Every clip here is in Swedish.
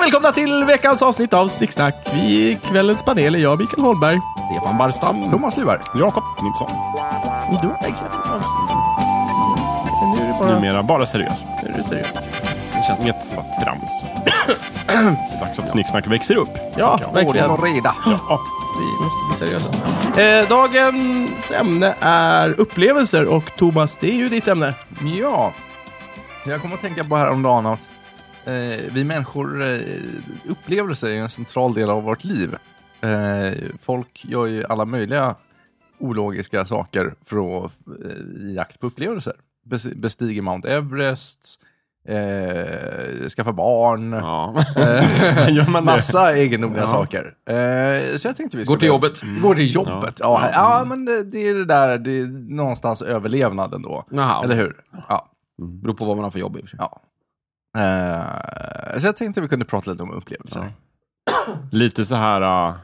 välkomna till veckans avsnitt av Snicksnack. Vi i kvällens panel är jag, Mikael Holmberg, Stefan Barstam, Thomas Luvar. Jakob Nilsson, Du har verkligen Nu är det bara... Nu numera bara seriös. är det seriöst. Inget trams. Det är dags att Snicksnack växer upp. Ja, verkligen. Ordning och reda. Ja, Vi måste bli seriösa. Eh, dagens ämne är upplevelser och Thomas, det är ju ditt ämne. Mm. Ja. Jag kommer att tänka på häromdagen att eh, vi människor, eh, upplevelser är ju en central del av vårt liv. Eh, folk gör ju alla möjliga ologiska saker för att, eh, i jakt på upplevelser. Bes- Bestiger Mount Everest, eh, skaffa barn, Ja. eh, gör man det? massa egendomliga Ja. saker. Eh, så jag tänkte vi skulle... Går till jobbet. Går till jobbet, ja. Ja, men det, det är det där, det är någonstans överlevnaden då. Jaha. Eller hur? Ja. Mm. Beror på vad man har för jobb i och för sig. ja. Eh, så jag tänkte vi kunde prata lite om upplevelser. lite så här uh,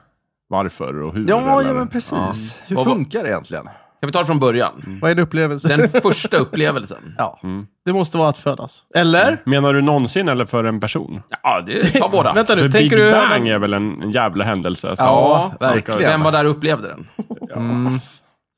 varför och hur. Ja, eller? ja men precis. Hur Vad- funkar det egentligen? Kan vi ta det från början? Vad är en upplevelse? Den första upplevelsen? Ja. Det måste vara att födas. Eller? Menar du någonsin eller för en person? Ja, det, ta båda. Vänta nu, För Big tänker du... Bang är väl en, en jävla händelse? Så. Ja, så- verkligen. Vem var där och upplevde den? Ja.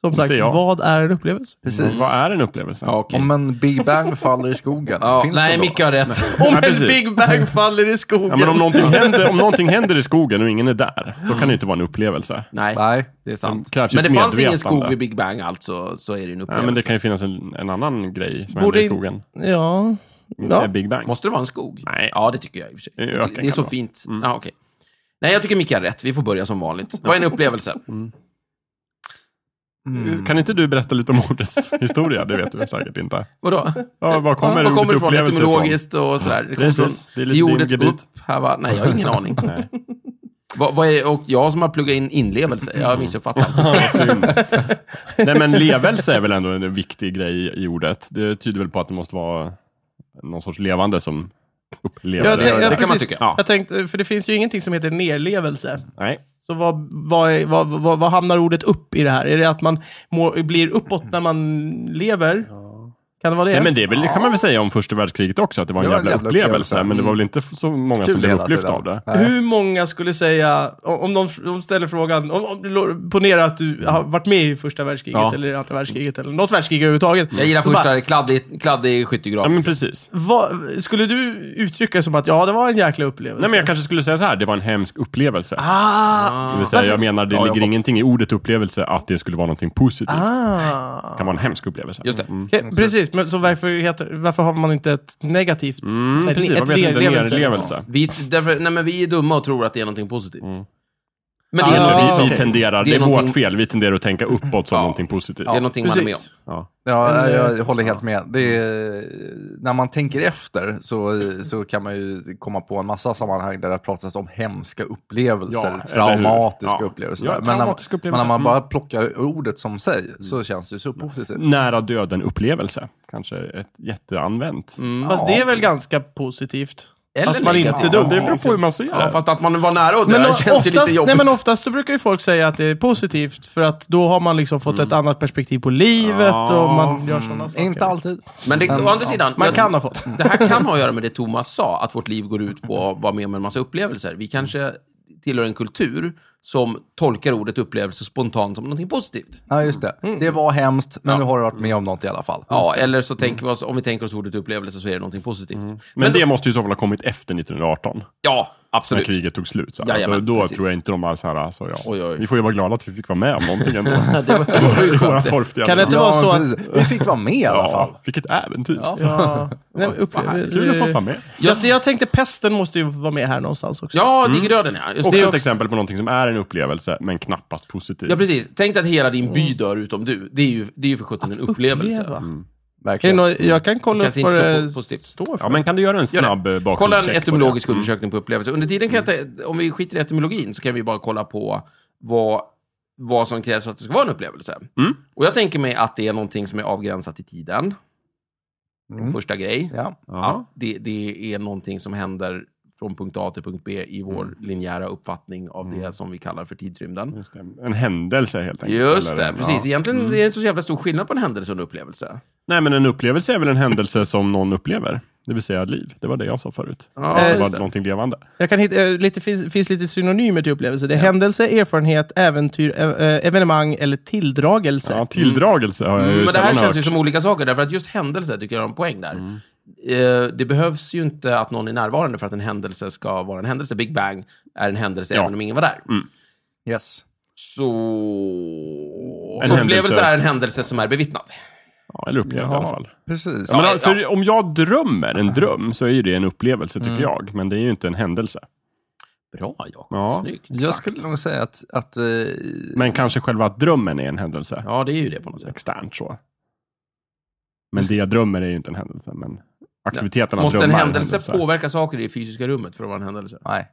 Som sagt, Inte jag. vad är en upplevelse? Precis. Vad är en upplevelse? Ja, okej. Om en Big Bang faller i skogen, Ja, finns nej, det då? Micke har rätt. Om Ja, en precis. Big Bang faller i skogen. Ja, men om, någonting händer, om någonting händer i skogen och ingen är där, då kan det inte vara en upplevelse. Nej, Nej. det är sant. Det krävs ju men det ett fanns ingen medvetande. skog vid Big Bang alltså, så är det en Ja, upplevelse. men det kan ju finnas en, en annan grej som Borde händer i in- skogen. Ja. Inte ja. Big Bang. Måste det vara en skog? Nej. Ja, det tycker jag i och för sig. Det Jag tycker- ökar Det är så kan det fint. Ja, okej. Nej, jag tycker Micke har rätt. Vi får börja som vanligt. Vad är en upplevelse? Mm. Kan inte du berätta lite om ordets historia? Det vet du säkert inte. Vadå? Ja, var kommer Var kommer ordet det ifrån? upplevelse ifrån? Etymologiskt och sådär. Det kommer Precis, det är lite från jordet din upp. gebit. Här var, nej, jag har ingen aning. Nej. Vad, vad är, och jag som har pluggat in inlevelse, jag har missuppfattat. Vad synd. Nej, men levelse är väl ändå en viktig grej i ordet. Det tyder väl på att det måste vara någon sorts levande som upplever Ja, det. det- ja, man precis. tycka. Ja. Jag tänkte, för det finns ju ingenting som heter nerlevelse. Nej, Så vad, vad, är- vad, vad, vad hamnar ordet upp i det här? Är det att man mår, blir uppåt när man lever? Kan det vara det? Nej, men det, är väl, det kan man väl säga om första världskriget också, att det var en, jävla, upplevelse, Men det var väl inte f- så många som Kul blev hela upplyfta tiden. av det. Nej. Hur många skulle säga, om om de, om de ställer frågan, om, om, ponera att du har varit med i första världskriget Ja. eller andra världskriget eller något världskrig överhuvudtaget. Jag gillar Så bara, första, kladdig, kladdig skyttegrav. Ja, men precis. vad, skulle du uttrycka som att ja, det var en jäkla upplevelse? Nej, men jag kanske skulle säga så här, det var en hemsk upplevelse. Ah! Det vill säga, jag menar, det Ja, jag ligger hopp- ingenting i ordet upplevelse att det skulle vara någonting positivt. ah. Det kan vara en hemsk upplevelse. Just det. Okej, precis, men så varför, heter, varför har man inte ett negativt? så här, Mm, precis, ett vad vet inte nerlevelse? nerlevelse? Vi, därför, nej, men vi är dumma och tror att det är någonting positivt. Men det är, Mm. Ja, någonting, Eller vi, vi okej. tenderar, Det det är är, någonting- vårt fel, vi tenderar att tänka uppåt som Ja. någonting positivt. det är någonting man är med om. Precis. Ja. Ja, Eller- eh, jag håller helt med. Det Mm. är, när man tänker efter så, så kan man ju komma på en massa sammanhang där det pratas om hemska Ja, upplevelser, eller hur? traumatiska Ja. upplevelser. Ja, Men när- traumatiska men upplevelser. Mm. när man bara plockar ordet som sig så känns det ju så positivt. Nära döden-upplevelse, kanske ett jätteanvänt. Mm. Fast det är väl ganska positivt? Eller att man negativt. inte Ja, dum. det beror på hur man ser Ja, det. fast att man var nära och dö Men o- känns ju lite jobbigt. nej, men oftast så brukar ju folk säga att det är positivt, för att då har man liksom fått ett Mm. annat perspektiv på livet och man gör sådana saker. Inte alltid. Men det, å andra sidan, Man jag- kan ha fått. det här kan ha att göra med det Thomas sa, att vårt liv går ut på att vara med om en massa upplevelser. Vi kanske tillhör en kultur som tolkar ordet upplevelse spontant som någonting positivt. Ja, just det. Mm. Det var hemskt, men nu har du varit med om något i alla fall. Ja, eller så Mm. tänker vi oss, om vi tänker oss ordet upplevelse så är det någonting positivt. Men, Men då- det måste ju i så fall ha kommit efter 1918, Ja, när absolut. kriget tog slut. Så här. Jajamän, då då precis. tror jag inte de var så här, alltså, ja. Oj, oj. vi får ju vara glada att vi fick vara med om någonting ändå. det Det var, det var ju våra skönt. torftiga Kan det inte Ja, vara så men att... precis. Vi fick vara med i alla fall. Ja, vilket äventyr. Ja, nej, men upp, Kul att få vara med. jag, jag tänkte pesten måste ju vara med här någonstans också. Ja, diggröden ja. Just Också det. ett exempel på någonting som är en upplevelse, men knappast positiv. Ja, precis. Tänk dig att hela din by dör utom du. Det är ju, det är ju för sjutton en upplevelse. Mm. Mm. uppleva. Är det Verkligen. någon, jag kan kolla upp Känns vad inte så det po- positivt. står för. Ja, men kan du göra en Gör det. snabb eh, bakgrundscheck? Kolla en på det? etymologisk Mm. undersökning på upplevelser. Under tiden kan jag ta, om vi skiter i etymologin så kan vi bara kolla på vad, vad som krävs för att det ska vara en upplevelse. Mm. Och jag tänker mig att det är någonting som är avgränsat i tiden. Mm. Mm. Första grej. Ja. Ja. Att det, det är någonting som händer från punkt A till punkt B i vår Mm. linjära uppfattning av det som vi kallar för tidrymden. Just det. En händelse helt enkelt. Just eller- det, precis. Ja. Egentligen är det inte så jävla stor skillnad på en händelse och en upplevelse. Nej, men en upplevelse är väl en händelse som någon upplever. Det vill säga liv. Det var det jag sa förut. Ja, det var just det. någonting levande. Jag kan hitta, eh, lite, finns, finns lite synonymer till upplevelse. Det är händelse, erfarenhet, äventyr, eh, eh, evenemang eller tilldragelse. Ja, tilldragelse har jag ju Mm, Men det här sällan känns ju hört. som olika saker, därför att just händelser tycker jag har en poäng där. Eh, Det behövs ju inte att någon är närvarande för att en händelse ska vara en händelse. Big Bang är en händelse Ja. även om ingen var där. Yes. Så... En upplevelse händelse. är en händelse som är bevittnad. Ja, eller upplevt i alla fall. Precis. Ja, men, ja. Mm. för om jag drömmer en dröm så är ju det en upplevelse tycker jag. Men det är ju inte en händelse. Bra, Jakob. Ja. Snyggt. Jag skulle nog säga att, att eh, Men kanske själva drömmen är en händelse. Ja, det är ju det på något sätt. Externt så. Men det jag drömmer är ju inte en händelse. Men aktiviteten att Måste drömma en är händelse händelse. påverka saker i det fysiska rummet för att vara en händelse? nej.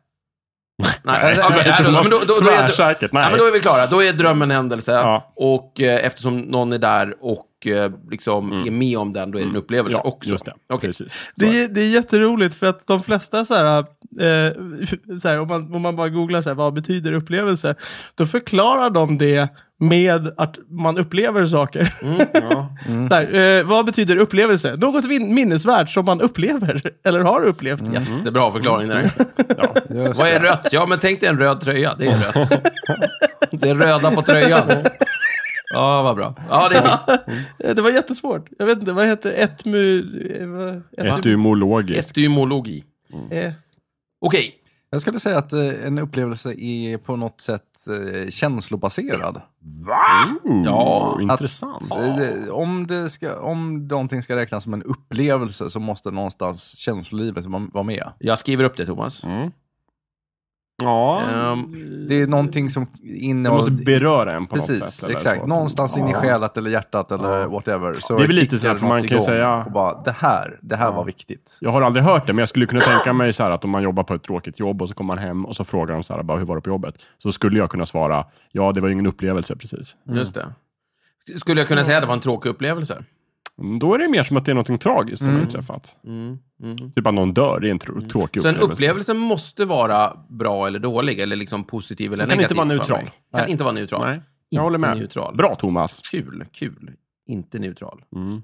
Nej, alltså, det nej, är då- men då- då- då är- tvärsäkert, Ja, nej. men då är vi klara. Då är drömmen en händelse. Ja. Och eh, eftersom någon är där och eh, liksom är med om den, då är det en upplevelse Mm. Ja, också. just det. Okej. Precis. Så. Det är, det är jätteroligt för att de flesta så här, eh, så här om, man, om man bara googlar så här, vad betyder upplevelse? Då förklarar de det med att man upplever saker. så här, eh, vad betyder upplevelse? Något vin- minnesvärt som man upplever eller har upplevt. Mm. Jättebra förklaring där. Ja. Vad är rött? Ja, men tänk dig en röd tröja. Det är rött. det är röda på tröjan. Ja, vad bra. Ja, det är fint. Eh, Det var jättesvårt. Jag vet inte, vad heter etmu... eh, vad- typ- etmu- Etymologiskt. Estymologi. eh, Okej. Jag skulle säga att eh, en upplevelse är på något sätt eh, känslobaserad. Ooh, Ja, att- intressant. Eh, det- Om, det ska, om någonting ska räknas som en upplevelse så måste någonstans känslolivet vara vara med. Jag skriver upp det, Thomas. Mm. Ja, Mm. Ehm, Det är någonting som det innehåller... måste beröra en på något Precis, sätt. eller exakt. så. Någonstans in i Ja. själet eller hjärtat eller Ja. whatever. Så Det är väl lite kickar så här, för man något kan ju igång säga- Och bara, det här, det här Ja. var viktigt. Jag har aldrig hört det, men jag skulle kunna tänka mig så här att om man jobbar på ett tråkigt jobb och så kommer man hem och så frågar de så här, bara, hur var det på jobbet? Så skulle jag kunna svara, ja det var ju ingen upplevelse precis. Just det. Skulle jag kunna säga att det var en tråkig upplevelse? Mm, Då är det mer som att det är något tragiskt som har inträffat. Mm. Mm. Typ att någon dör, det är en tr- tråkig Så en upplevelse. upplevelse måste vara bra eller dålig, eller liksom positiv eller Den kan negativ. inte vara för neutral. mig. Kan inte vara neutral. Nej, inte jag håller med. neutral. Bra Thomas. Kul, kul. Inte neutral. Mm.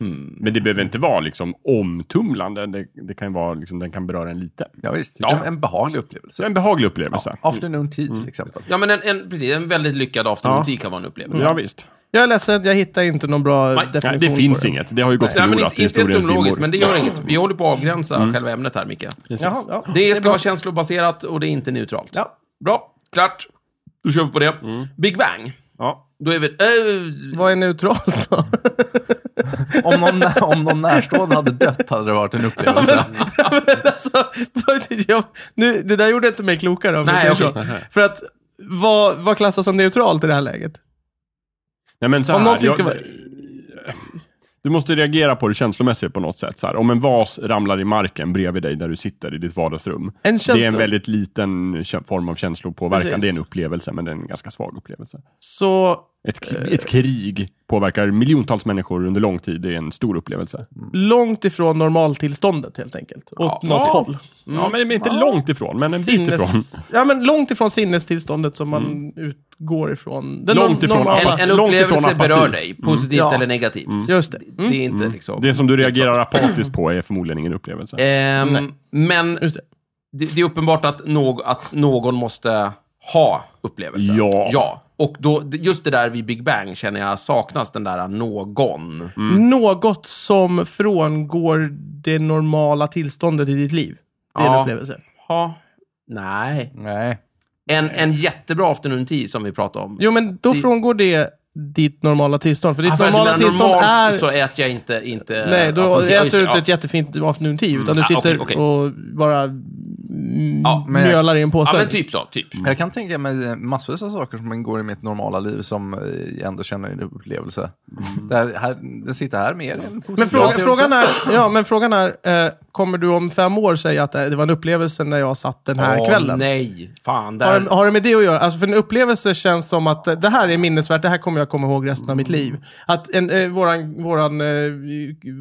Hmm. Men det behöver inte vara liksom omtumlande, det, det kan ju vara, liksom, den kan beröra en lite. Ja, visst. Ja. En, en behaglig upplevelse. Så en behaglig upplevelse. Ja, Afternoon tea Mm. till exempel. Ja, men en, en, precis, en väldigt lyckad afternoon tea kan vara en Mm. upplevelse. visst. Jag är ledsen, jag hittar inte någon bra Nej, Mm. definition Nej, det finns på det. inget, det har ju gått Nej, men förlorat inte, i inte historiens etymologiskt, men dimmor. Mm. det gör inget. Vi håller på att avgränsa själva ämnet här, Micke. Jaha, ja. Det ska vara känslobaserat och det är inte neutralt. Ja. Bra, klart. Då kör vi på det. Mm. Big Bang. Ja. Då är vi... Äh, Vad är neutralt då? Om någon, om någon närstående hade dött hade det varit en upplevelse. alltså, vad- jag, nu, det där gjorde inte mig klokare om Nej, jag säger så. För att vad, vad klassas som neutralt i det här läget? Nej, men så Om här, någonting jag- ska vara... Du måste reagera på det känslomässigt på något sätt. Så här, om en vas ramlar i marken bredvid dig där du sitter i ditt vardagsrum. En Det är en känsla. väldigt liten kä- form av känslopåverkan. Precis. Det är en upplevelse, men det är en ganska svag upplevelse. Så Ett, k- ett krig påverkar miljontals människor under lång tid. Det är en stor upplevelse. långt ifrån normaltillståndet helt enkelt. Åt något Ja. håll. Ja, men inte långt ifrån, men en bit ifrån. Mm. Ja, men långt ifrån sinnestillståndet som man utgår ifrån. Den Långt ifrån normala- apati. en, en långt ifrån upplevelse apati. berör dig, positivt Ja. eller negativt. Just det. Mm. Det är inte liksom... Mm. Det som du reagerar apatiskt på är förmodligen ingen upplevelse. Ehm, men Just det. det, det är uppenbart att, någ, att någon måste ha upplevelsen. Ja. ja. Och då, just det där vid Big Bang känner jag saknas, den där någon. Mm. Något som frångår det normala tillståndet i ditt liv. Det är en Ja. upplevelse. Ha. Nej. Nej. En, en jättebra afternoon tea som vi pratade om. Jo, men då Det- frångår det ditt normala tillstånd. För ditt Ah, Alltså, för att normala menar tillstånd normalt är... så äter jag inte... inte Nej, då afternoon tea. Eh, Ja, Mm, äter just du det, inte ja. ett jättefint afternoon tea, utan du ah, sitter okej, okej. och bara mm, Ja, men- mjölar i en påse. Ja, men typ så. Typ. Jag kan tänka mig massvis av saker som ingår i mitt normala liv som eh, jag ändå känner är en upplevelse. Det här, här, den sitter här med er. i en positiv Men, fråga, upplevelse. frågan är, ja, men frågan är, eh, kommer du om fem år säga att eh, det var en upplevelse när jag satt den här Åh, kvällen? nej. Fan, Har, där. det- har det med det att göra? Alltså för en upplevelse känns som att eh, det här är minnesvärt, det här kommer jag komma ihåg resten av mitt Mm. liv. Att en, eh, våran, våran eh,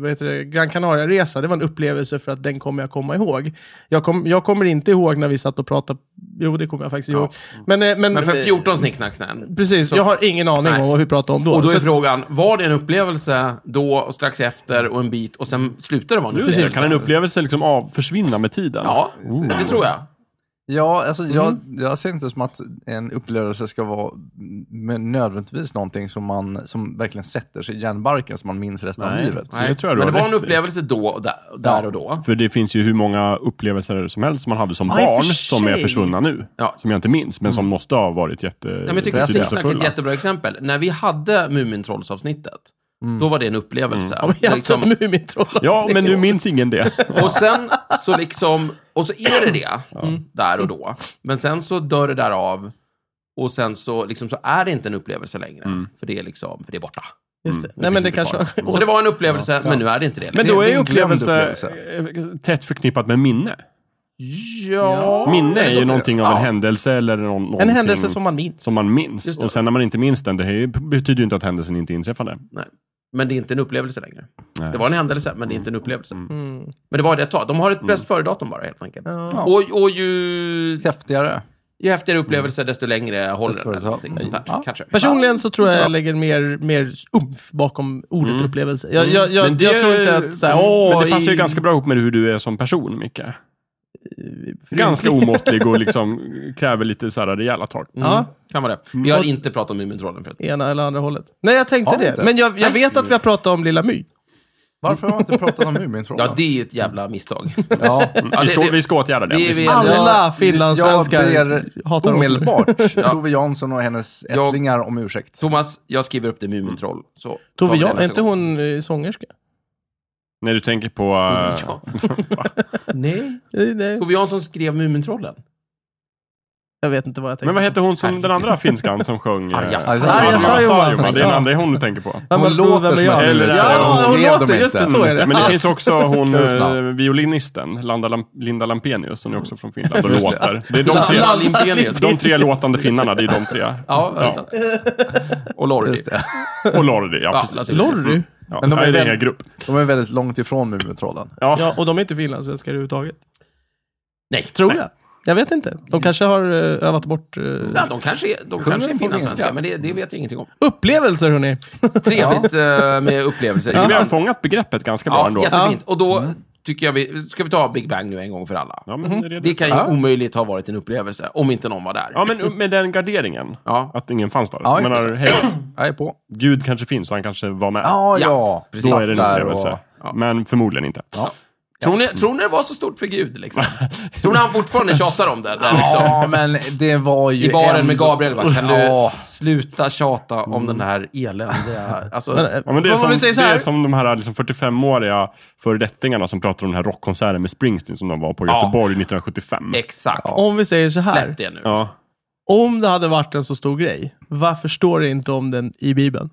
vad heter det, Gran Canaria-resa, det var en upplevelse för att den kommer jag komma ihåg. Jag, kom, jag kommer inte ihåg när vi satt och pratade, jo det kommer jag faktiskt ihåg. Men, eh, men, Men för 14 snicksnacksnän. precis, jag har ingen aning Nej. om vad vi pratade om då. Och då är Så- frågan, var det en upplevelse då och strax efter och en bit och sen slutar det vara en upplevelse? Kan en upplevelse liksom av, försvinna med tiden? Ja, Mm. det tror jag. Ja, alltså jag, jag ser inte som att en upplevelse ska vara mm, med nödvändigtvis någonting som, man, som verkligen sätter sig i hjärnbarken som man minns resten av Nej. livet. Nej. det tror jag du Men det har var en rätt i. upplevelse då och där, där och då. För det finns ju hur många upplevelser som helst man hade som i och barn för som är sig. försvunna nu. Ja. Som jag inte minns, men som måste ha varit jätte... Nej, men jag tycker Precis. Snicksnack är ett betydelsefulla. jättebra exempel. När vi hade Mumintrolls-avsnittet, Mm. då var det en upplevelse. Ja, men jag har Liksom- liksom... Mumintrollen. Ja, men du minns ingen det. Och sen så liksom, och så är det det Mm. där och då. Men sen så dör det där av och sen så, liksom, så är det inte en upplevelse längre. Mm. För, det är liksom, för det är borta. Just det. det Nej, men finns det inte kanske... kvar. Så det var en upplevelse, men nu är det inte det längre. Mm. Men då Det- är det ju är en glömd upplevelse upplevelse. eh, tätt förknippat med minne. ja. Minne Eller är så- ju någonting av ja. en händelse eller någon, någonting En händelse som man minns. som man minns. Just det. Och sen när man inte minns den, det är ju- betyder ju inte att händelsen inte inträffade. Nej. Men det är inte en upplevelse längre. Nej. Det var en händelse, men det är inte en upplevelse. Mm. Men det var det ett tag. De har ett bäst före-datum bara, helt enkelt. Ja. Och, och ju, Häftigare. ju häftigare upplevelse, desto längre håller den. före eller någonting datum. Sånt där, Ja. Kanske. Personligen så tror jag jag lägger mer, mer umf bakom ordet upplevelse. Jag, jag, jag, Men det- jag tror inte att så här, åh, Men det passar ju i- Eh, ganska bra ihop med hur du är som person, Micke. fru- Ganska omåttlig och liksom kräver lite så här rejäla tag. Ja, Kan vara det. Vi har inte pratat om Mumintrollen förut. ena eller andra hållet. Nej, jag tänkte Har vi det. inte? Men jag, jag vet att vi har pratat om Lilla My. Varför har man inte pratat om Mumintrollen? Ja, det är ett jävla misstag. Ja. det- vi, ska, det- vi ska åtgärda det. vi- Vi ska- vi- Jag- Alla finlandssvenskar Jag ber hatar oss. omedelbart Ja. Tove Jansson och hennes Jag- ättlingar om ursäkt. Thomas, jag skriver upp det Mumintroll. Så tar Tove vi det Jan, är nästa inte gång. hon eh, sångerska? När du tänker på... eh, Ja. Nej. Nej, nej. Tove Jansson skrev Mumintrollen. Jag vet inte vad jag tänkte. Men vad hette hon som Herregud. den andra finskan som sjöng? eh, Arja Arja Arja Saijonmaa. Saijonmaa. Det är Ja. den andra hon du tänker på. Vem Hon är Blue, låter vem är som jag? en Ja, lille tjej. hon Hon skrev låter, dem just det, inte. så är Just det, det. Men det finns också hon, Knutsnack. eh, violinisten, Landa Lam- Linda Lampenius, som är också från Finland och Just det. låter. Så det är de Lalla tre, Limpenius. de tre låtande finnarna, det är de tre. Ja, alltså. Och Lordi. Just det. Och Lordi, ja Ja, precis. Mm. naturligtvis. Lorry? Ja, Men de är nej, det är väl- en grupp. De är väldigt långt ifrån Mumintrollen. Ja. Ja, och de är inte finlandssvenskar överhuvudtaget. Nej. Tror jag. Jag vet inte. De kanske har eh, övat bort eh, Ja, de kanske är, de Sjunger kanske de är på finlandssvenska, finska? men det, det vet jag ingenting om. upplevelser, hörni. Trevligt eh, med upplevelser. Vi har fångat begreppet ganska bra Ja, ändå. jättefint. Och då tycker jag vi, ska vi ta Big Bang nu en gång för alla? Ja, men, är det Det det kan ju Ja. omöjligt ha varit en upplevelse, om inte någon var där. ja, men med den garderingen. Ja. Att ingen fanns där. Ja, Jag just menar, det. hej, Jag är på. Gud kanske finns, så han kanske var med. Ja, ja. Ja, precis. Då är det en Där upplevelse. Ja. Men förmodligen inte. Tror, ni, tror ni det var så stort för Gud, liksom? tror ni han fortfarande tjatar om det? Där, liksom? Ja, men det var ju... I baren ändå- med Gabriel, va? kan Ja. du sluta tjata om den här eländiga... Men, Alltså, eh, Ja, men det, är vad- som, vad vi säger så det är här. som de här liksom 45-åriga föredettingarna som pratar om den här rockkonserten med Springsteen som de var på i Ja. Göteborg 1975. exakt. Om vi säger så här. Släpp det nu. Ja. Om det hade varit en så stor grej, varför står det inte om den i Bibeln?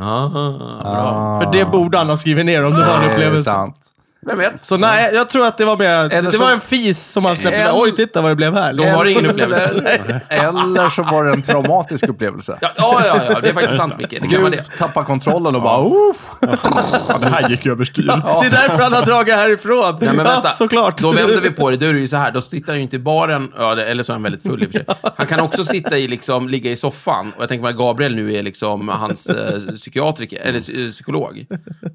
Ah, bra. Ah. För det borde han ha skrivit ner om det var en Det är upplevelse. sant. Vem vet? Så nej, jag tror att det var mer, det, Eller det var så- en fis som han släppte. där. En- Oj, titta vad det blev här. De har ingen upplevelse. Eller, eller så var det en traumatisk upplevelse. Ja, ja, ja, ja, det är faktiskt sant, Micke. Det kan vara Du det. tappar kontrollen och bara... Oh, Ja, det här gick ju överstyr. Det är därför han har dragit härifrån. Nej, men vänta. Ja, såklart. Då vänder vi på det. Då är det ju så här, då sitter han ju inte i baren, ja, det- eller så är han väldigt full i och för sig. Han kan också sitta i, liksom, ligga i soffan. Och jag tänker mig att Gabriel nu är liksom hans eh, psykiatriker, eller psy- eh, psykolog.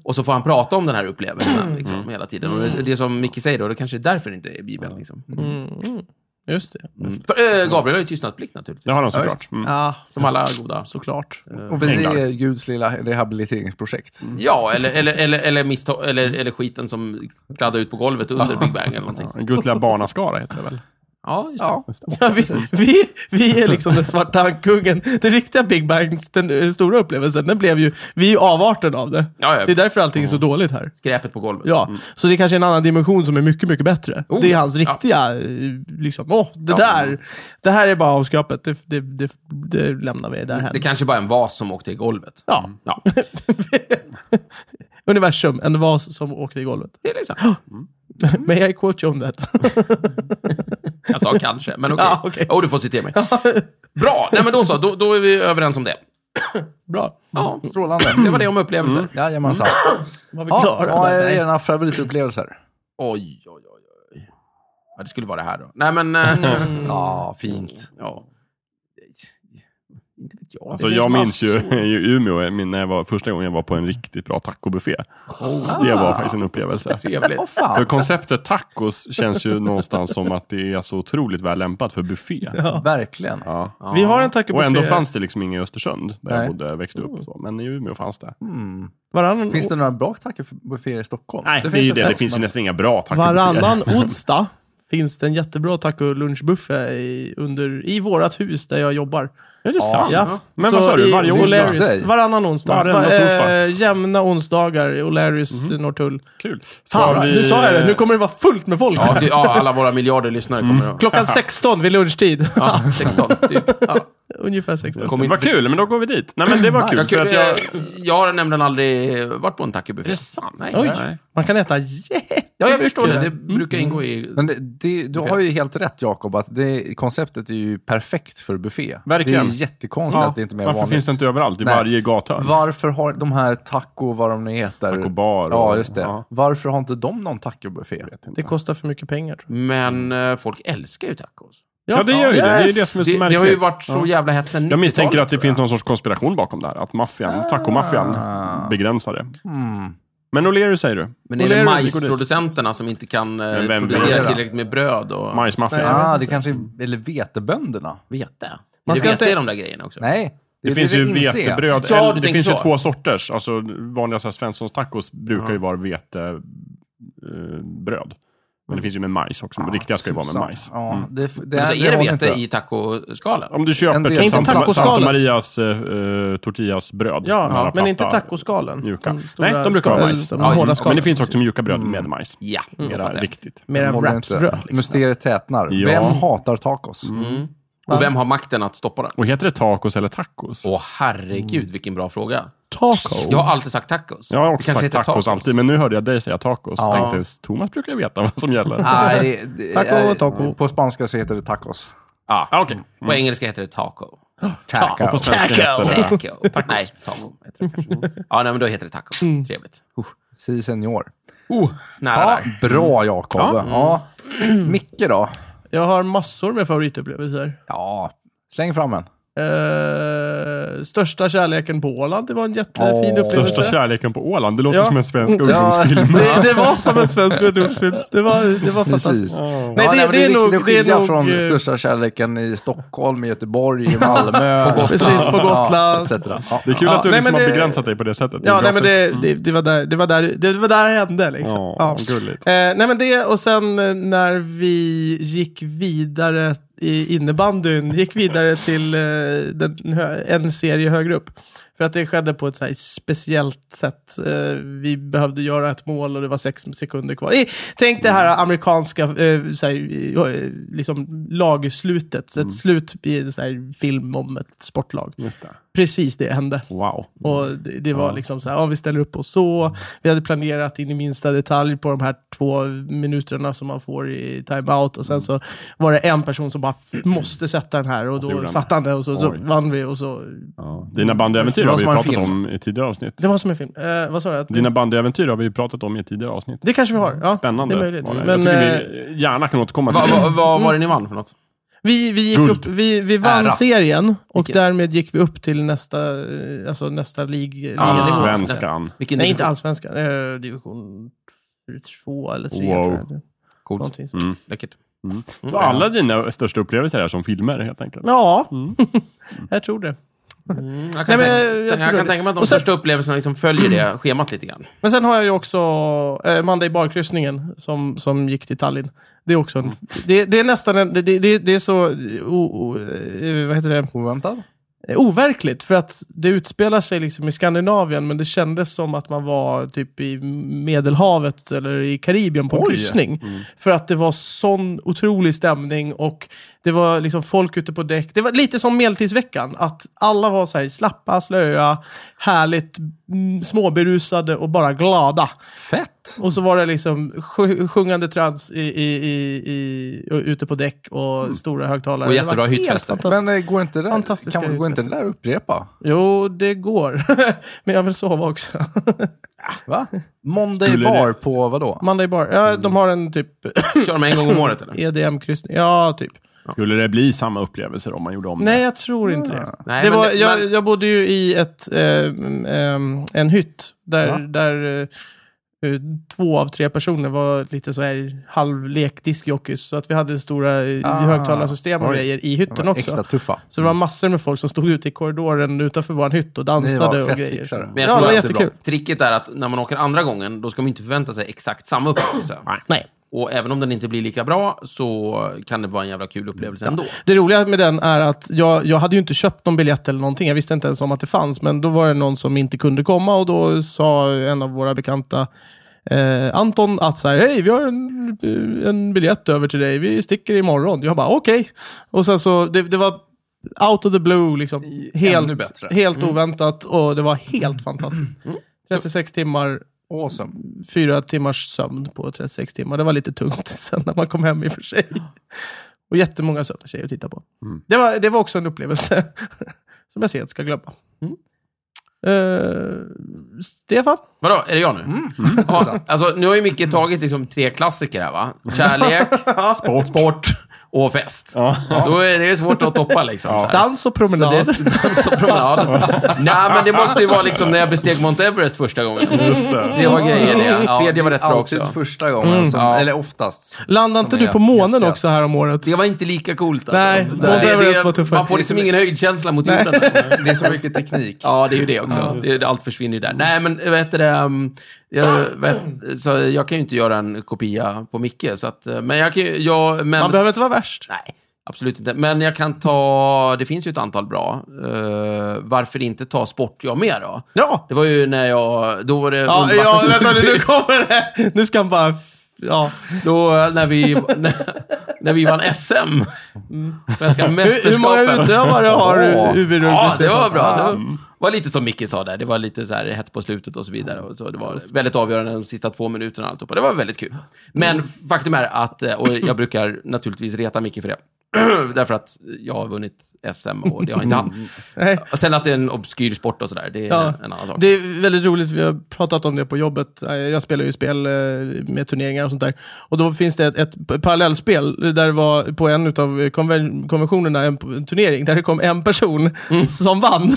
Och så får han prata om den här upplevelsen liksom, hela tiden. Och det, det är som Micke säger då, det kanske är därför det inte är i Bibeln. Liksom. Just det. För, äh, Gabriel har ju tystnadsplikt naturligtvis. Det har de Ja, såklart. Mm. Ja, Som alla goda. såklart. och vi Änglar. är Guds lilla rehabiliteringsprojekt. Ja, eller, eller, eller, eller, misstag, eller, eller skiten som kladdade ut på golvet under Big Bang eller någonting. Guds lilla barnaskara heter det väl? Ja, just det. Ja. Ja, vi, vi, vi är liksom den svarta ankungen. Den riktiga Big Bang, den eh, stora upplevelsen, den blev ju, vi är ju avarten av det. Ja, Mm. ja. Det är därför allting är så dåligt här. Skräpet på golvet. Ja, så det är kanske är en annan dimension som är mycket, mycket bättre. Oh, det är hans ja. riktiga, eh, liksom, åh, det Ja. där, det här är bara avskrapat, det, det, det, det lämnar vi där Det kanske bara är en vas som åkte i golvet. Ja. Ja, Universum, en vas som åkte i golvet. det är liksom. Men jag quote you on that. Jag sa kanske, men okej. Ja, okej. Oh, du får citera mig. Bra, nej men då så. Då, då är vi överens om det. Bra, Ja, Strålande. det var det om upplevelser. Jajamensan. var vi Ja, klara? vad är Nej. era favoritupplevelser? Oj, oj, oj, oj. Ja, det skulle vara det här då. Nej men... eh, Ja, fint. ja. Inte vet jag. Alltså, Det jag finns minns ju i Umeå, min- när jag var, första gången jag var på en riktigt bra tacobuffé. Det var faktiskt en upplevelse. Trevligt. Åh fan. För konceptet tacos känns ju någonstans som att det är så otroligt väl lämpat för buffé. Verkligen. Ja. Ja. Vi har en Och ändå tacobuffé fanns det liksom ingen i Östersund, där Nej. jag bodde, växte upp och så. Men i Umeå fanns det. varannan, Finns det några bra tacobufféer i Stockholm? Nej, det, är ju det. Det faktiskt, finns ju men- nästan inga bra tacobufféer. varannan onsdag. Finns det en jättebra taco-lunchbuffé i, under, i vårat hus där jag jobbar. Är det sant? Ja. Men Så vad sa du, i varje O'Larrys- onsdag? Nej. Varannan onsdag. Varannan Va- eh, torsdag. jämna onsdagar i O'Larrys i Norrtull. Kul. Ska Fan, vi- nu sa jag det. Nu kommer det vara fullt med folk. Ja, ty, ja, alla våra miljarder lyssnare kommer Mm. att... Klockan 16 vid lunchtid. Ja, 16, typ. Ja. Ungefär 16. Kom in. Vad kul, men då går vi dit. Nej, men det var kul. Jag, För kunde, att jag... Eh, jag har nämligen aldrig varit på en tacobuffé. Är det sant? Nej. Oj, Nej. man kan äta jättemycket. Ja, jag förstår det. där. Det brukar ingå i... Men det, det, du har ju helt rätt Jakob, att det, konceptet är ju perfekt för buffé. Verkligen. Det är jättekonstigt Ja, att det inte är mer varför vanligt. finns det inte överallt? I Nej. varje gathörn? Varför har de här taco, vad de nu heter? Taco bar och- Ja, just det. ja. Varför har inte de någon tacobuffé? Det kostar för mycket pengar tror jag. Men eh, folk älskar ju tacos. Ja, det gör ju det. Det är ju yes. det som är så Det, det märkligt. har ju varit så jävla hett sen Jag misstänker att det 90-talet, tror jag. finns någon sorts konspiration bakom där. Att maffian, tacomaffian, begränsar det. Men O'Leary säger du? Men är det O'Learys går dit. majsproducenterna som inte kan eh, Men vem vill producera det då? tillräckligt med bröd och Majsmaffian? Nej. Ah, det kanske är, eller vetebönderna? vete? Man Man ska ska vete inte- i de där grejerna också? Nej. Det, finns ju inte är. vetebröd. Ja, du eller- det tänker finns ju så. två sorters. Alltså, vanliga så här, Svenssons tacos brukar ju vara vetebröd. Men det finns ju med majs också. Men riktiga ska ju vara med Så. majs. Mm. Ja, det, det, Men så är det håller vete inte. i tacoskalan? Om du En del- köper Inte till Santa, tacoskalen. Santa Marias uh, tortillas bröd. Ja, med alla men inte platta, tacoskalen. Mjuka. De stora Nej, de brukar vara skal- majs. de Ja, hårda men Men skalen. det finns också mjuka bröd med majs. Ja, då Mera fattar jag. riktigt. Mer än Håller inte. wrapsbröd. Liksom. Mysteriet tätnar. Ja. Mm. Vem hatar tacos? Och vem har makten att stoppa den? Och heter det tacos eller tacos? Åh herregud, vilken bra fråga. Taco. Jag har alltid sagt tacos. mm. Jag har Det också kanske sagt heter tacos, alltid, men nu hörde jag dig säga tacos. Ja. Tänkte, Thomas brukar ju veta vad som gäller. Nej, det- det- Taco, eh, taco. På spanska så heter det tacos. Ja. Ah, Okej. På engelska heter det taco. Och på Taco. svenska heter det... Taco. Nej, taco heter det kanske. Ja, nej, men då heter det taco. Trevligt. Usch. Si senior. Nära Ja, där. bra Jakob. Ja. Micke då? Jag har massor med favoritupplevelser. Ja, släng fram en. Eh, största kärleken på Åland, det var en jättefin Åh. upplevelse. Största kärleken på Åland. Det låter Ja. som en svensk Ja. ungdomsfilm. det, det var som en svensk ungdomsfilm. Det var, det var fantastiskt. Precis. Nej, Ja, det, nej, men liksom det, är viktigt nog... att Det är skilja nog från eh, största kärleken i Stockholm, i Göteborg, i Malmö. På Gotland. Precis, på Ja, Gotland. etc. Ja, Det är kul Ja, att du nej, liksom men har det- begränsat dig på det sättet. Ja, nej, men Geografiskt. det, det, det, var där, det, var där, det var där det hände. Liksom. mm. Ja, ja. gulligt. Eh, nej, men det och sen eh, när vi gick vidare i innebandyn, gick vidare till eh, den, hö- en serie högre upp. För att det skedde på ett så här speciellt sätt. Eh, vi behövde göra ett mål och det var sex sekunder kvar. Eh, tänk det Mm. här amerikanska eh, så här, eh, liksom lagslutet. Mm. Ett slut i en så här, film om ett sportlag. Just det. Precis det hände. Wow. Och det, det var liksom så här, ja, vi ställer upp oss så. Vi hade planerat in i minsta detalj på de här två minuterna som man får i timeout. Mm. Och sen så var det en person som bara f- måste sätta den här. Och så gjorde då han satte han den och så, så Oj. vann vi. Och så. Ja. Dina bandäventyr har vi ju som en pratat film. om i tidigare avsnitt. Det var som en film. Eh, vad sa jag? Dina bandäventyr har vi ju pratat om i tidigare avsnitt. Det kanske vi har. Ja, Spännande. Det är möjligt. var det. Men jag eh, tycker vi gärna kan återkomma Vad till va, det. va, vad var det ni vann för något? vi, vi, gick Guld. upp, vi, vi vann Ära. serien och Vilket? därmed gick vi upp till nästa, eh, alltså nästa lig, Ah, liganivå. svensk. Allsvenskan. Vilken Nej, inte division? allsvenskan. Eh, division två eller tre. Wow. tror jag. Coolt. Någonting. Läckert. Så alla dina största upplevelser är som filmer helt enkelt. Ja, jag tror det. Mm, jag Nej, men kan, tänka, jag- jag jag tror kan det. tänka mig att de Och sen- största upplevelserna liksom följer det schemat lite grann. Men sen har jag ju också eh, Monday Bar-kryssningen som, som gick till Tallinn. Det är också en, det, det är nästan en, det, det, det är så o, o, eh, vad heter det? Oväntat? Eh, overkligt för att det utspelar sig liksom i Skandinavien men det kändes som att man var typ i Medelhavet eller i Karibien på en Oj. kryssning. Mm. För att det var sån otrolig stämning och det var liksom folk ute på däck. Det var lite som Medeltidsveckan, att alla var så här slappa, slöa, härligt mm, småberusade och bara glada. Fett! Och så var det liksom sj- sjungande trans i, i, i, i, och ute på däck och stora högtalare. Mm. Och Det var jättebra helt hyttfester. fantastiskt. Men eh, går inte det där, Fantastiska kan, går inte det utfästelser. där att upprepa? Jo, det går. Men jag vill sova också. Va? Monday Skulle bar det- på vadå? Monday Bar. Ja, De har en typ Kör de en gång om året eller? EDM-kryssning. Ja, typ. Skulle det bli samma upplevelser om man gjorde om Nej, det? jag tror inte det. Nej, det men var, det- jag, men- jag bodde ju i ett, ehm, ehm, en hytt där, Ja. där eh, eh, två av tre personer var lite så här halvlek diskjockeys. Så att vi hade stora eh, Ah. högtalarsystem och Oj. grejer i hytten också. Extra tuffa. Så det var massor med folk som stod ute i korridoren utanför vår hytt och Ni dansade var och grejer. festfixare. Men jag Ja, tror det var att jättekul. bra. Tricket är att när man åker andra gången, då ska man inte förvänta sig exakt samma upplevelse. Nej. Och även om den inte blir lika bra så kan det vara en jävla kul upplevelse ändå. Det roliga med den är att jag, jag hade ju inte köpt någon biljett eller någonting. Jag visste inte ens om att det fanns. Men då var det någon som inte kunde komma och då sa en av våra bekanta eh, Anton att så här, hej vi har en, en biljett över till dig. Vi sticker imorgon. Jag bara okej. Och sen så, det, det var out of the blue liksom. Ännu Helt, bättre. Mm. helt oväntat och det var helt fantastiskt. 36 timmar, Awesome. fyra timmars sömn på 36 timmar. Det var lite tungt sen när man kom hem i och för sig. Och jättemånga söta tjejer att titta på. Mm. Det, var, det var också en upplevelse som jag sent ska glömma. Mm. Eh, Stefan? Vadå, är det jag nu? Mm. Ja, alltså, nu har ju Micke tagit liksom tre klassiker här, va? Kärlek, sport. och fest. Ja. Då är det ju svårt att toppa liksom. så här. Dans och Så det promenad. är dans och promenad. Nej, men det måste ju vara liksom när jag besteg Mount Everest första gången. det. Det var grejer det. Ja, Tredje var rätt bra alltid också. första gången, som, Ja. eller oftast. Landade inte Som du är på månen häftiga. också här om året? Det var inte lika coolt. Alltså. Nej, Mount Everest var tuffare. Man får liksom ingen höjdkänsla mot jorden. Det är så mycket teknik. Ja, det är ju det också. det, allt försvinner ju där. Nej, men vad heter det? um, Jag, vet, så jag kan ju inte göra en kopia på Micke, så att, eh, men jag kan ju... Jag, men, Man behöver inte vara värst. Nej, absolut inte. Men jag kan ta... Det finns ju ett antal bra. Eh, varför inte ta sport jag med då? Ja! Det var ju när jag... Då var det... Ja, undervattens- ja vänta nu, nu kommer det! Nu ska han bara... Ja. Då eh, när vi, när, när vi vann SM. Svenska Hur, mästerskapen. huvudutövare många utövare har Ja. du huvudrulle, Ja, det Stefan? var bra. Det var, var lite som Micke sa där. Det var lite så här hett på slutet och så vidare. Och så det var väldigt avgörande de sista två minuterna. och Alltihopa. Det var väldigt kul. Men Mm. faktum är att, eh, och jag brukar naturligtvis reta Micke för det. Därför att jag har vunnit SM och det har inte han. Mm. Nej. Och Sen att det är en obskyr sport och sådär, det är Ja. en annan sak. Det är väldigt roligt, vi har pratat om det på jobbet. Eh, Jag spelar ju spel eh, med turneringar och sånt där. Och då finns det ett, ett p- parallellspel där det var på en av konventionerna en, p- en turnering där det kom en person Mm. som vann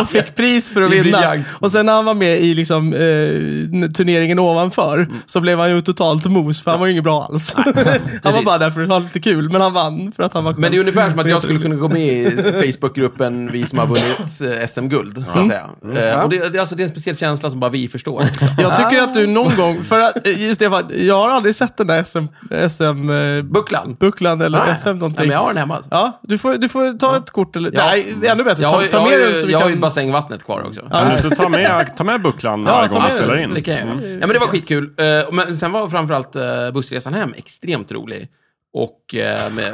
och fick pris för att Det är vinna. briljant. Och sen när han var med i liksom, eh, n- turneringen ovanför Mm. så blev han ju totalt mos för han var ju inget bra alls. han var Precis. bara där för att ha lite kul, men han vann för att han var Men det är ungefär som att jag Mm. skulle kunna gå med i Facebookgruppen Vi som har vunnit eh, SM-guld, Mm. så att säga. Eh, Och det, det, är alltså, det är en speciell känsla som bara vi förstår. liksom. Jag tycker att du någon gång, för att, eh, Stefan, jag har aldrig sett den där SM, SM eh, Bucklan. Buckland eller Nej. SM Nej, någonting. men jag har den hemma. Alltså. Ja, du får, du får ta ett kort eller... Ja. Nej, ännu bättre. Jag har, Ta, ju- ta jag med har den ju- så vi jag har kan... ju bassängvattnet kvar också. Ja, just Så ta med, ta med bucklan Ja, varje ta gång med vi den. spelar Det in. Mm. kan jag göra. Ja, men det var skitkul. Eh, Men sen var framförallt eh, bussresan hem extremt rolig. Och eh, med,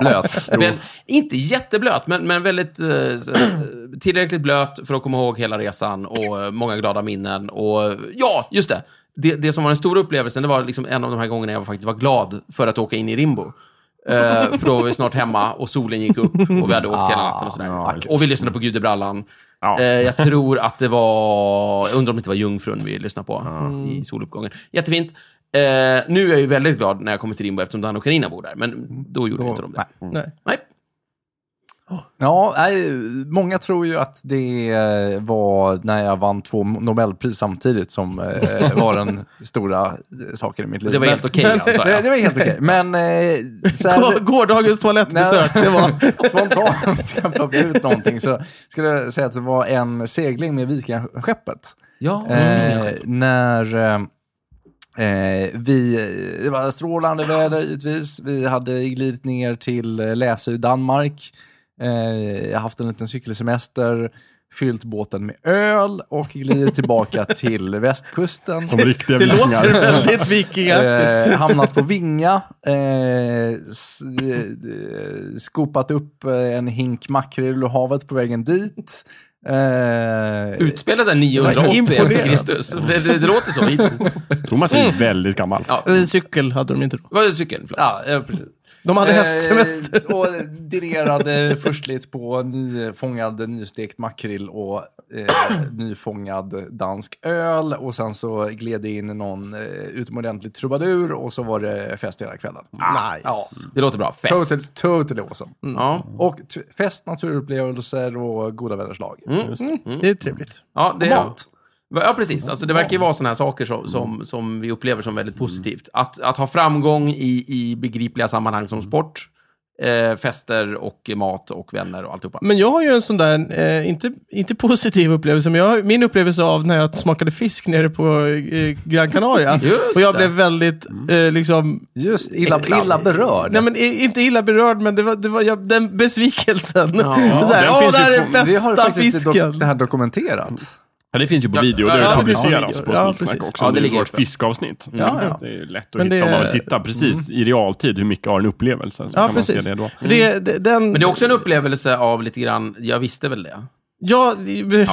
blöt. Men, inte jätteblöt, men, men väldigt eh, s- tillräckligt blöt för att komma ihåg hela resan och eh, många glada minnen. Och eh, ja, just det. det. Det som var den stora upplevelsen, det var liksom en av de här gångerna jag faktiskt var glad för att åka in i Rimbo. Eh, för då var vi snart hemma och solen gick upp och vi hade åkt hela natten och sådär. ja, Typ. just det. och vi lyssnade på Gudebrallan. Ja. Eh, jag tror att det var... Jag undrar om det inte var Jungfrun vi lyssnade på i soluppgången. Jättefint. Eh, nu är jag ju väldigt glad när jag kommer till Rimbo eftersom Dan och Carina bor där. Men då gjorde vi inte de det. Nej. Nej. Ja, nej, många tror ju att det eh, var när jag vann två Nobelpris samtidigt som eh, var den stora eh, saken i mitt liv. Det var Men- helt okej antar det, jag. det var helt okej. Men eh, så Gå- här, Gårdagens toalettbesök, det var... spontant, jag plockade ut någonting, så skulle jag säga att det var en segling med vikingaskeppet. Ja, Mm. Eh, när eh, eh, vi, det var strålande väder givetvis. Vi hade glidit ner till eh, Läsö i Danmark. Eh, jag har haft en liten cykelsemester, fyllt båten med öl och glidit tillbaka till västkusten. De riktiga Det låter vikingar. väldigt vikingaktigt. Eh, hamnat på Vinga, eh, s- eh, eh, skopat upp eh, en hink makrill ur havet på vägen dit. Eh, Utspelar sig 980 Imponerad. efter Kristus. Det, det, det låter så hittills. Thomas är ju väldigt gammal. Ja, Eh, Cykel hade de inte då. vad är cykeln? Förlåt. ja, eh, precis. De hade hästsemester. Eh, och direrade förstligt på nyfångad nystekt makrill och eh, nyfångad dansk öl. Och sen så gled det in någon eh, utomordentlig trubadur och så var det fest hela kvällen. Nice. Ja, Det låter bra. Fest. Mm. total, totally awesome. Ja. Och t- fest, naturupplevelser och goda vänners lag. Mm. mm. Det är trevligt. Ja, det, Mat. ja, precis. Alltså, det verkar ju vara sådana här saker som, som, Mm. som vi upplever som väldigt positivt. Att, att ha framgång i, i begripliga sammanhang Mm. som sport, eh, fester och mat och vänner och alltihopa. Men jag har ju en sån där, eh, inte, inte positiv upplevelse, men jag, har- min upplevelse av när jag smakade fisk nere på eh, Gran Canaria. Just och jag det. Mm. blev väldigt, eh, liksom, Just illa, illa berörd. nej men i- inte illa berörd, men det var, det var jag, den besvikelsen. Ja, det den Åh, finns det här ju är på- vi har bästa faktiskt inte fisken. dok- det här dokumenterat. Ja, det finns ju på Ja, video. Det har ja, ju ja, publicerats ja, på ja, Snicksnack precis. också. Ja, det det ligger ligger vårt uppe. fiskavsnitt. Ja, ja. Det är ju lätt att Men det hitta om man är- vill titta precis i realtid hur mycket av en upplevelse. Så Ja, kan man precis. se det då. Mm. För Det, det, den, Men det är också en upplevelse av lite grann, jag visste väl det. ja,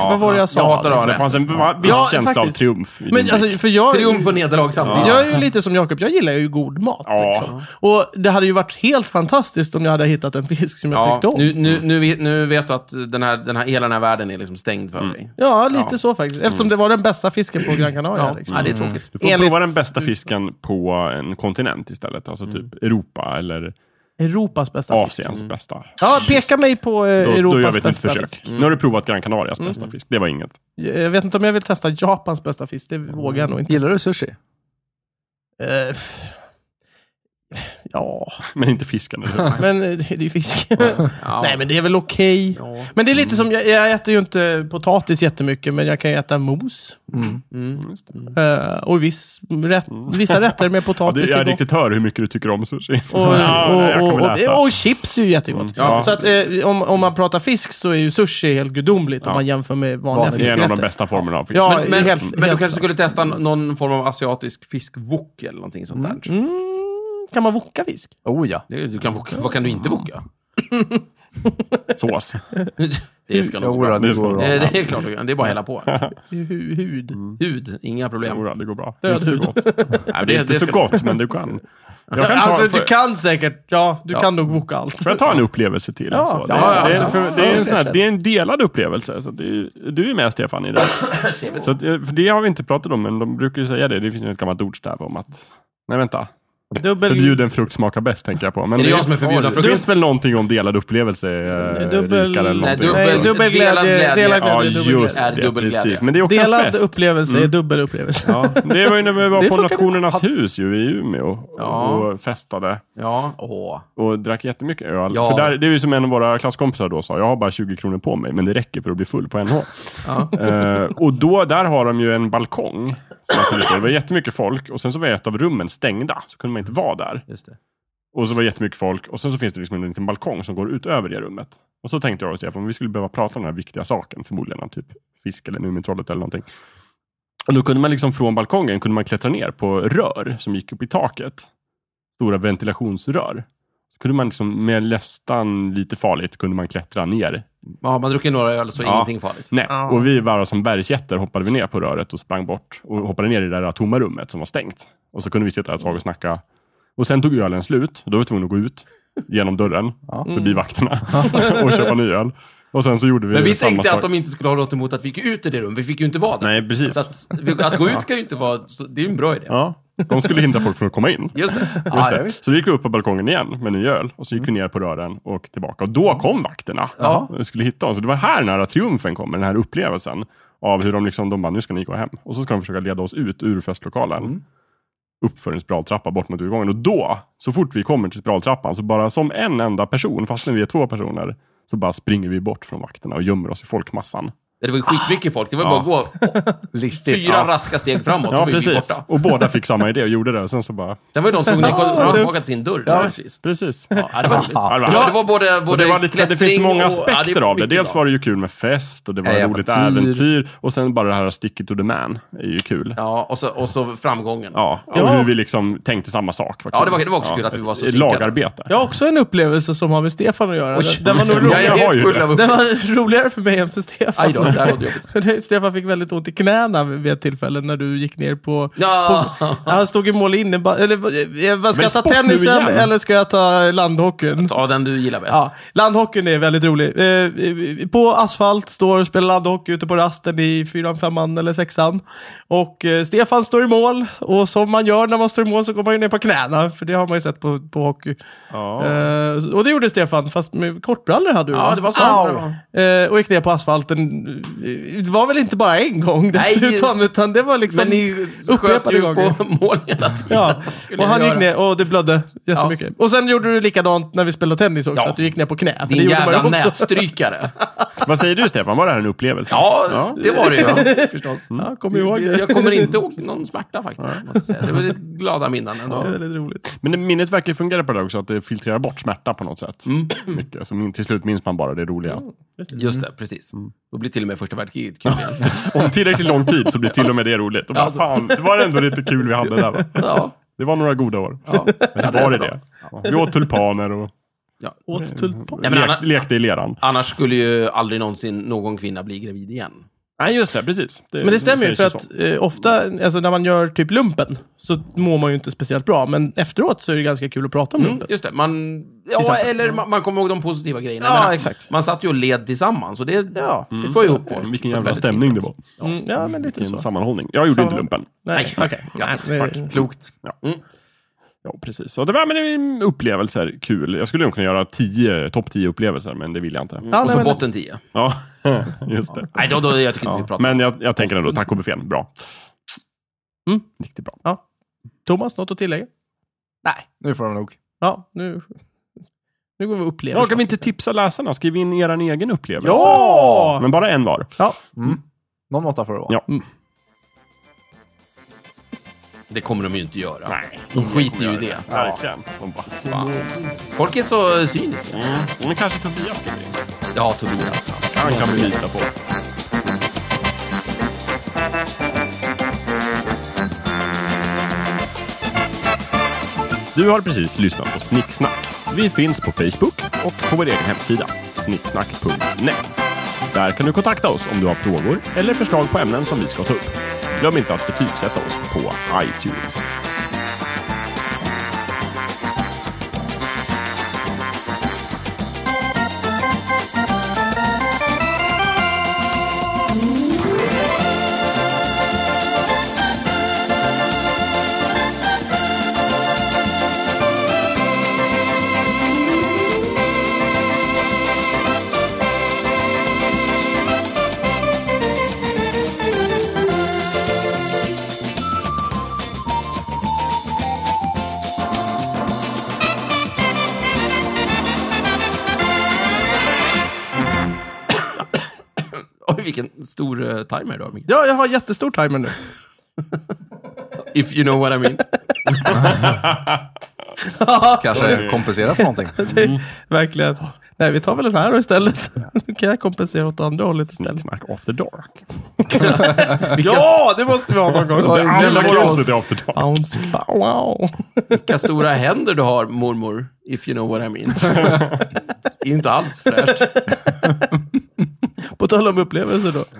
vad var det jag sa? jag hatar att ha Det rätt. fanns en va- viss Ja, känsla faktiskt. av triumf. i Men din- alltså, för jag... Triumf och nederlag samtidigt. Jag är ju lite som Jakob, jag gillar ju god mat. Ja. Liksom. Och det hade ju varit helt fantastiskt om jag hade hittat en fisk som jag Ja, tyckte om. nu, nu, nu, vet- nu vet du att den här, den här, hela den här världen är liksom stängd för Mm. dig. Ja, lite Ja. så faktiskt. Mm. Eftersom det var den bästa fisken på Gran Canaria. Ja, Liksom. ja, det är tråkigt. du får enligt- prova den bästa fisken på en kontinent istället. Alltså typ Europa eller Europas bästa fisk. Asiens bästa. Ja, peka mig på eh, Då, då gör Europas vi ett nytt bästa försök. fisk. Mm. Nu har du provat Gran Canarias bästa fisk. Det var inget. Jag vet inte om jag vill testa Japans bästa fisk, det Mm. vågar jag nog inte. Gillar du sushi? Eh, ja, Men inte fisken, eller hur? men eh, det är ju fisk. Ja. Mm. Nej, men det är väl okej. Ja. Men det är lite som, jag, jag äter ju inte potatis jättemycket, men jag kan ju äta mos. Mm. Just det. Eh, och viss, rätt, vissa rätter med Mm. Ja, du, potatis jag är gott. riktigt hör hur mycket du tycker om sushi. Och, Ja, jag och, kommer och, läsa. Mm. och, och chips är ju jättegott. Ja. Så att, eh, om, om man pratar fisk så är ju sushi helt gudomligt om man jämför med vanliga det är en av de fiskrätter. bästa formerna av fisk. Ja, Men, men, helt- men du helt- kanske skulle testa någon form av asiatisk fiskvok eller någonting sånt där. Mm, kan man woka fisk? Oh ja. Det, du kan, voka- vad kan du inte voka? Sås. Det ska nog gå Jo, bra. då, Eh, det går bra. bra. Det är klart, du kan. det är bara att hälla på. Hu- Hud. Hud, inga problem. Jodå, det går bra. Det är Död inte så hud. gott. Nej, det är inte det så ska- gott, men du kan. Jag kan ta, Alltså, får, du kan säkert. Ja, du Ja. kan nog woka allt. får jag ta en upplevelse till? Ja, så? Det, ja, det, är- absolut. för, det, är en sån här, det är en delad upplevelse. Så det, är- du är med Stefan i det. Så att, eh, för det har vi inte pratat om, men de brukar ju säga det. Det finns ju ett gammalt ordstäv om att... Nej, vänta. Dubbel, Förbjuden frukt smakar bäst, tänker jag på. Men Är det jag som är förbjuden Det frukt? finns väl någonting om delad upplevelse? Eh, Dubbel- rikare eller Nej, någonting. nej, dubbel- dubbel delad glädje. glädje. Delad glädje. Ja, är dubbel just glädje. är det. dubbel glädje. Precis. Men det är också en Delad fest. upplevelse är dubbel upplevelse. Ja, det var ju när vi var Det på funkar bra. Nationernas hus ju, i Umeå Ja. och festade Ja, åh. och drack jättemycket öl. Ja. För där, det är ju som en av våra klasskompisar då sa, jag har bara 20 kronor på mig, men det räcker för att bli full på NH. Eh, och då, där har de ju en balkong. som man kunde stå. Det var jättemycket folk och sen så var ett av rummen stängda, så kunde man inte vara där. Just det. Och så var det jättemycket folk och sen så finns det liksom en liten balkong som går ut över det rummet. Och så tänkte jag och Stefan, vi skulle behöva prata om den här viktiga saken, förmodligen om typ fisk eller Mumintrollet eller någonting. Och då kunde man liksom från balkongen kunde man klättra ner på rör som gick upp i taket. Stora ventilationsrör. Så kunde man liksom med nästan lite farligt kunde man klättra ner. Ja, man dricker några öl så är Ja. ingenting farligt. Nej. Ja. Och vi var som bergsjätter hoppade vi ner på röret och sprang bort och hoppade ner i det där tomma rummet som var stängt. Och så kunde vi sitta där ett tag och snacka. Och sen tog ölen slut. Då var vi tvungna att gå ut genom dörren Ja. förbi vakterna och köpa ny öl. Och sen så gjorde vi, Men vi samma tänkte sak. att de inte skulle ha något emot att vi gick ut ur det rummet. Vi fick ju inte vara där. Nej, precis. Så att, att gå ut ska ju inte vara... Så, det är ju en bra idé. Ja. De skulle hindra folk från att komma in. Just det. Just ja, det. visst. Så då gick vi upp på balkongen igen med ny öl och så gick vi ner på rören och tillbaka. Och då kom vakterna Ja. och skulle hitta oss. Så det var här den här triumfen kom, den här upplevelsen av hur de liksom, de bara, nu ska ni gå hem. Och så ska de försöka leda oss ut ur festlokalen. Mm. Upp för en spiraltrappa bort mot utgången. Och då, så fort vi kommer till spiraltrappan, så bara som en enda person, fast när vi är två personer, så bara springer vi bort från vakterna och gömmer oss i folkmassan. Det var ju skitmycket folk. Det var bara att gå Listigt. fyra raska steg framåt så Ja, var vi precis. borta. Och båda fick samma idé och gjorde det. Och sen så bara, Sen var ju de tvungna att gå tillbaka till sin dörr. Ja, precis. precis. Ja, det var roligt. Ja, det var- Ja, det var både, Och både det, var lite, så här, det finns klättring många och- aspekter ja, av det. Dels var det ju kul med fest och det var Ja, roligt äventyr. äventyr. Och sen bara det här Stick it to the man är ju kul. Ja. Ja, och så, och så framgången. och hur vi liksom tänkte samma sak. Ja, kul. det var- det var också kul att vi var så Ett synkade. lagarbete. Jag har också en upplevelse som har med Stefan att göra. Oj. Den var nog Ja, rolig. jag Jag har ju är full det. av Den upplevelser. var roligare för mig än för Stefan. Aj då, det här låter jobbigt. Det- Stefan fick väldigt ont i knäna vid ett tillfälle när du gick ner på... Ja. på han stod i mål inne. ba- Eller, eh, vad, ska Men jag ta sport nu tennisen igen? eller ska jag ta landhockeyn? Ja, den du gillar bäst. Ja, landhockeyn är väldigt rolig. Eh, på asfalt står och spelar landhockey ute på rasten i fyran, femman eller sexan. Och eh, Stefan står i mål och som man gör när man står i mål så går man ju ner på knäna. För det har man ju sett på, på hockey. Ja. Eh, och det gjorde Stefan, fast med kortbrallor hade du Ja, va? det var så. Au. det var. Eh, och gick ner på asfalten. Eh, Det var väl inte bara en gång Nej. dessutom, utan det var liksom Men ni sköt upprepade ju gånger. på mål hela tiden. Ja, Skulle och ni han gick göra. ner och det blödde jättemycket. Och sen gjorde du likadant när vi spelade tennis också, Ja. att du gick ner på knä. För det Din gjorde man jävla ju också. nätstrykare. Vad säger du Stefan, var det här en upplevelse? Mm. Ja, det var det ju. förstås. Ja, kom ihåg det. Jag kommer inte ihåg någon smärta faktiskt. måste jag säga. Det var lite glada minnen Det är ändå. väldigt roligt. Men det- minnet verkar ju fungera på det också, att det filtrerar bort smärta på något sätt. Mm. Mycket. Så min, till slut minns man bara det roliga. Just Mm. det, precis. Då blir till och med första världskriget kul igen. Om tillräckligt lång tid så blir till och med det roligt. Och bara, Alltså. fan, det var ändå lite kul vi hade där va? Ja, Det var några goda år. ja. Men det var det det. Vi åt tulpaner och Ja. Åt tulpan. Nej, men lek, annan- lekte i leran. Annars skulle ju aldrig någonsin någon kvinna bli gravid igen. Nej, just det. Precis. Men det stämmer ju, sägs för så. att eh, ofta alltså, när man gör typ lumpen så mår man ju inte speciellt bra. Men efteråt så är det ganska kul att prata om lumpen. Mm, Just det, man... Ja, Exempel. eller man, man kommer ihåg de positiva grejerna. Ja, Jag menar, exakt. Man satt ju och led tillsammans och det Ja, Mm. det går ju ihop på. Vilken på ett jävla väldigt stämning fint det sätt. var. Mm, ja men lite Vilken så. sammanhållning. Jag gjorde inte Sammanhåll- lumpen. Nej, Nej, okej. grattis. Nej, Tack. Klokt. Ja, precis. Och det var men det är upplevelser, kul. Jag skulle nog kunna göra tio, topp 10 upplevelser, men det vill jag inte. Ja, och nej, så men- botten 10. Ja, just det. Nej, då, då, jag tycker inte vi Ja. pratar Men jag, jag tänker ändå, tacobuffén, bra. Mm. Riktigt bra. Thomas, något att tillägga? Nej, nu får de nog. Ja, nu, nu går vi och upplever. Ja, kan vi inte tipsa läsarna? Skriv in er egen upplevelse. Ja! Men bara en var. Ja, Någon måtta får det vara. Ja. Mm. Det kommer de ju inte göra. Nej. De skiter ju i det. Verkligen. De bara, Fan. Folk är så cyniska. Mm. Men kanske Tobias ska bli. Ja, Tobias. Han kan vi lita på. Du har precis lyssnat på Snicksnack. Vi finns på Facebook och på vår egen hemsida, snicksnack.net. Där kan du kontakta oss om du har frågor eller förslag på ämnen som vi ska ta upp. Glöm inte att betygsätta oss på iTunes. Oj, vilken stor eh, timer du har, Micke. ja jag har jättestor timer nu. If you know what I mean. Kanske kompensera för någonting. Det- Verkligen. Nej, vi tar väl den här då istället. Nu kan jag kompensera åt andra hållet istället. Snicksnack after dark. Ja, det måste vi ha någon gång. Oj, Alla Väldigt våra bra. avsnitt är after dark. Bounce, bow, wow. Vilka stora händer du har, mormor. If you know what I mean. inte alls fräscht. På tal om upplevelser då.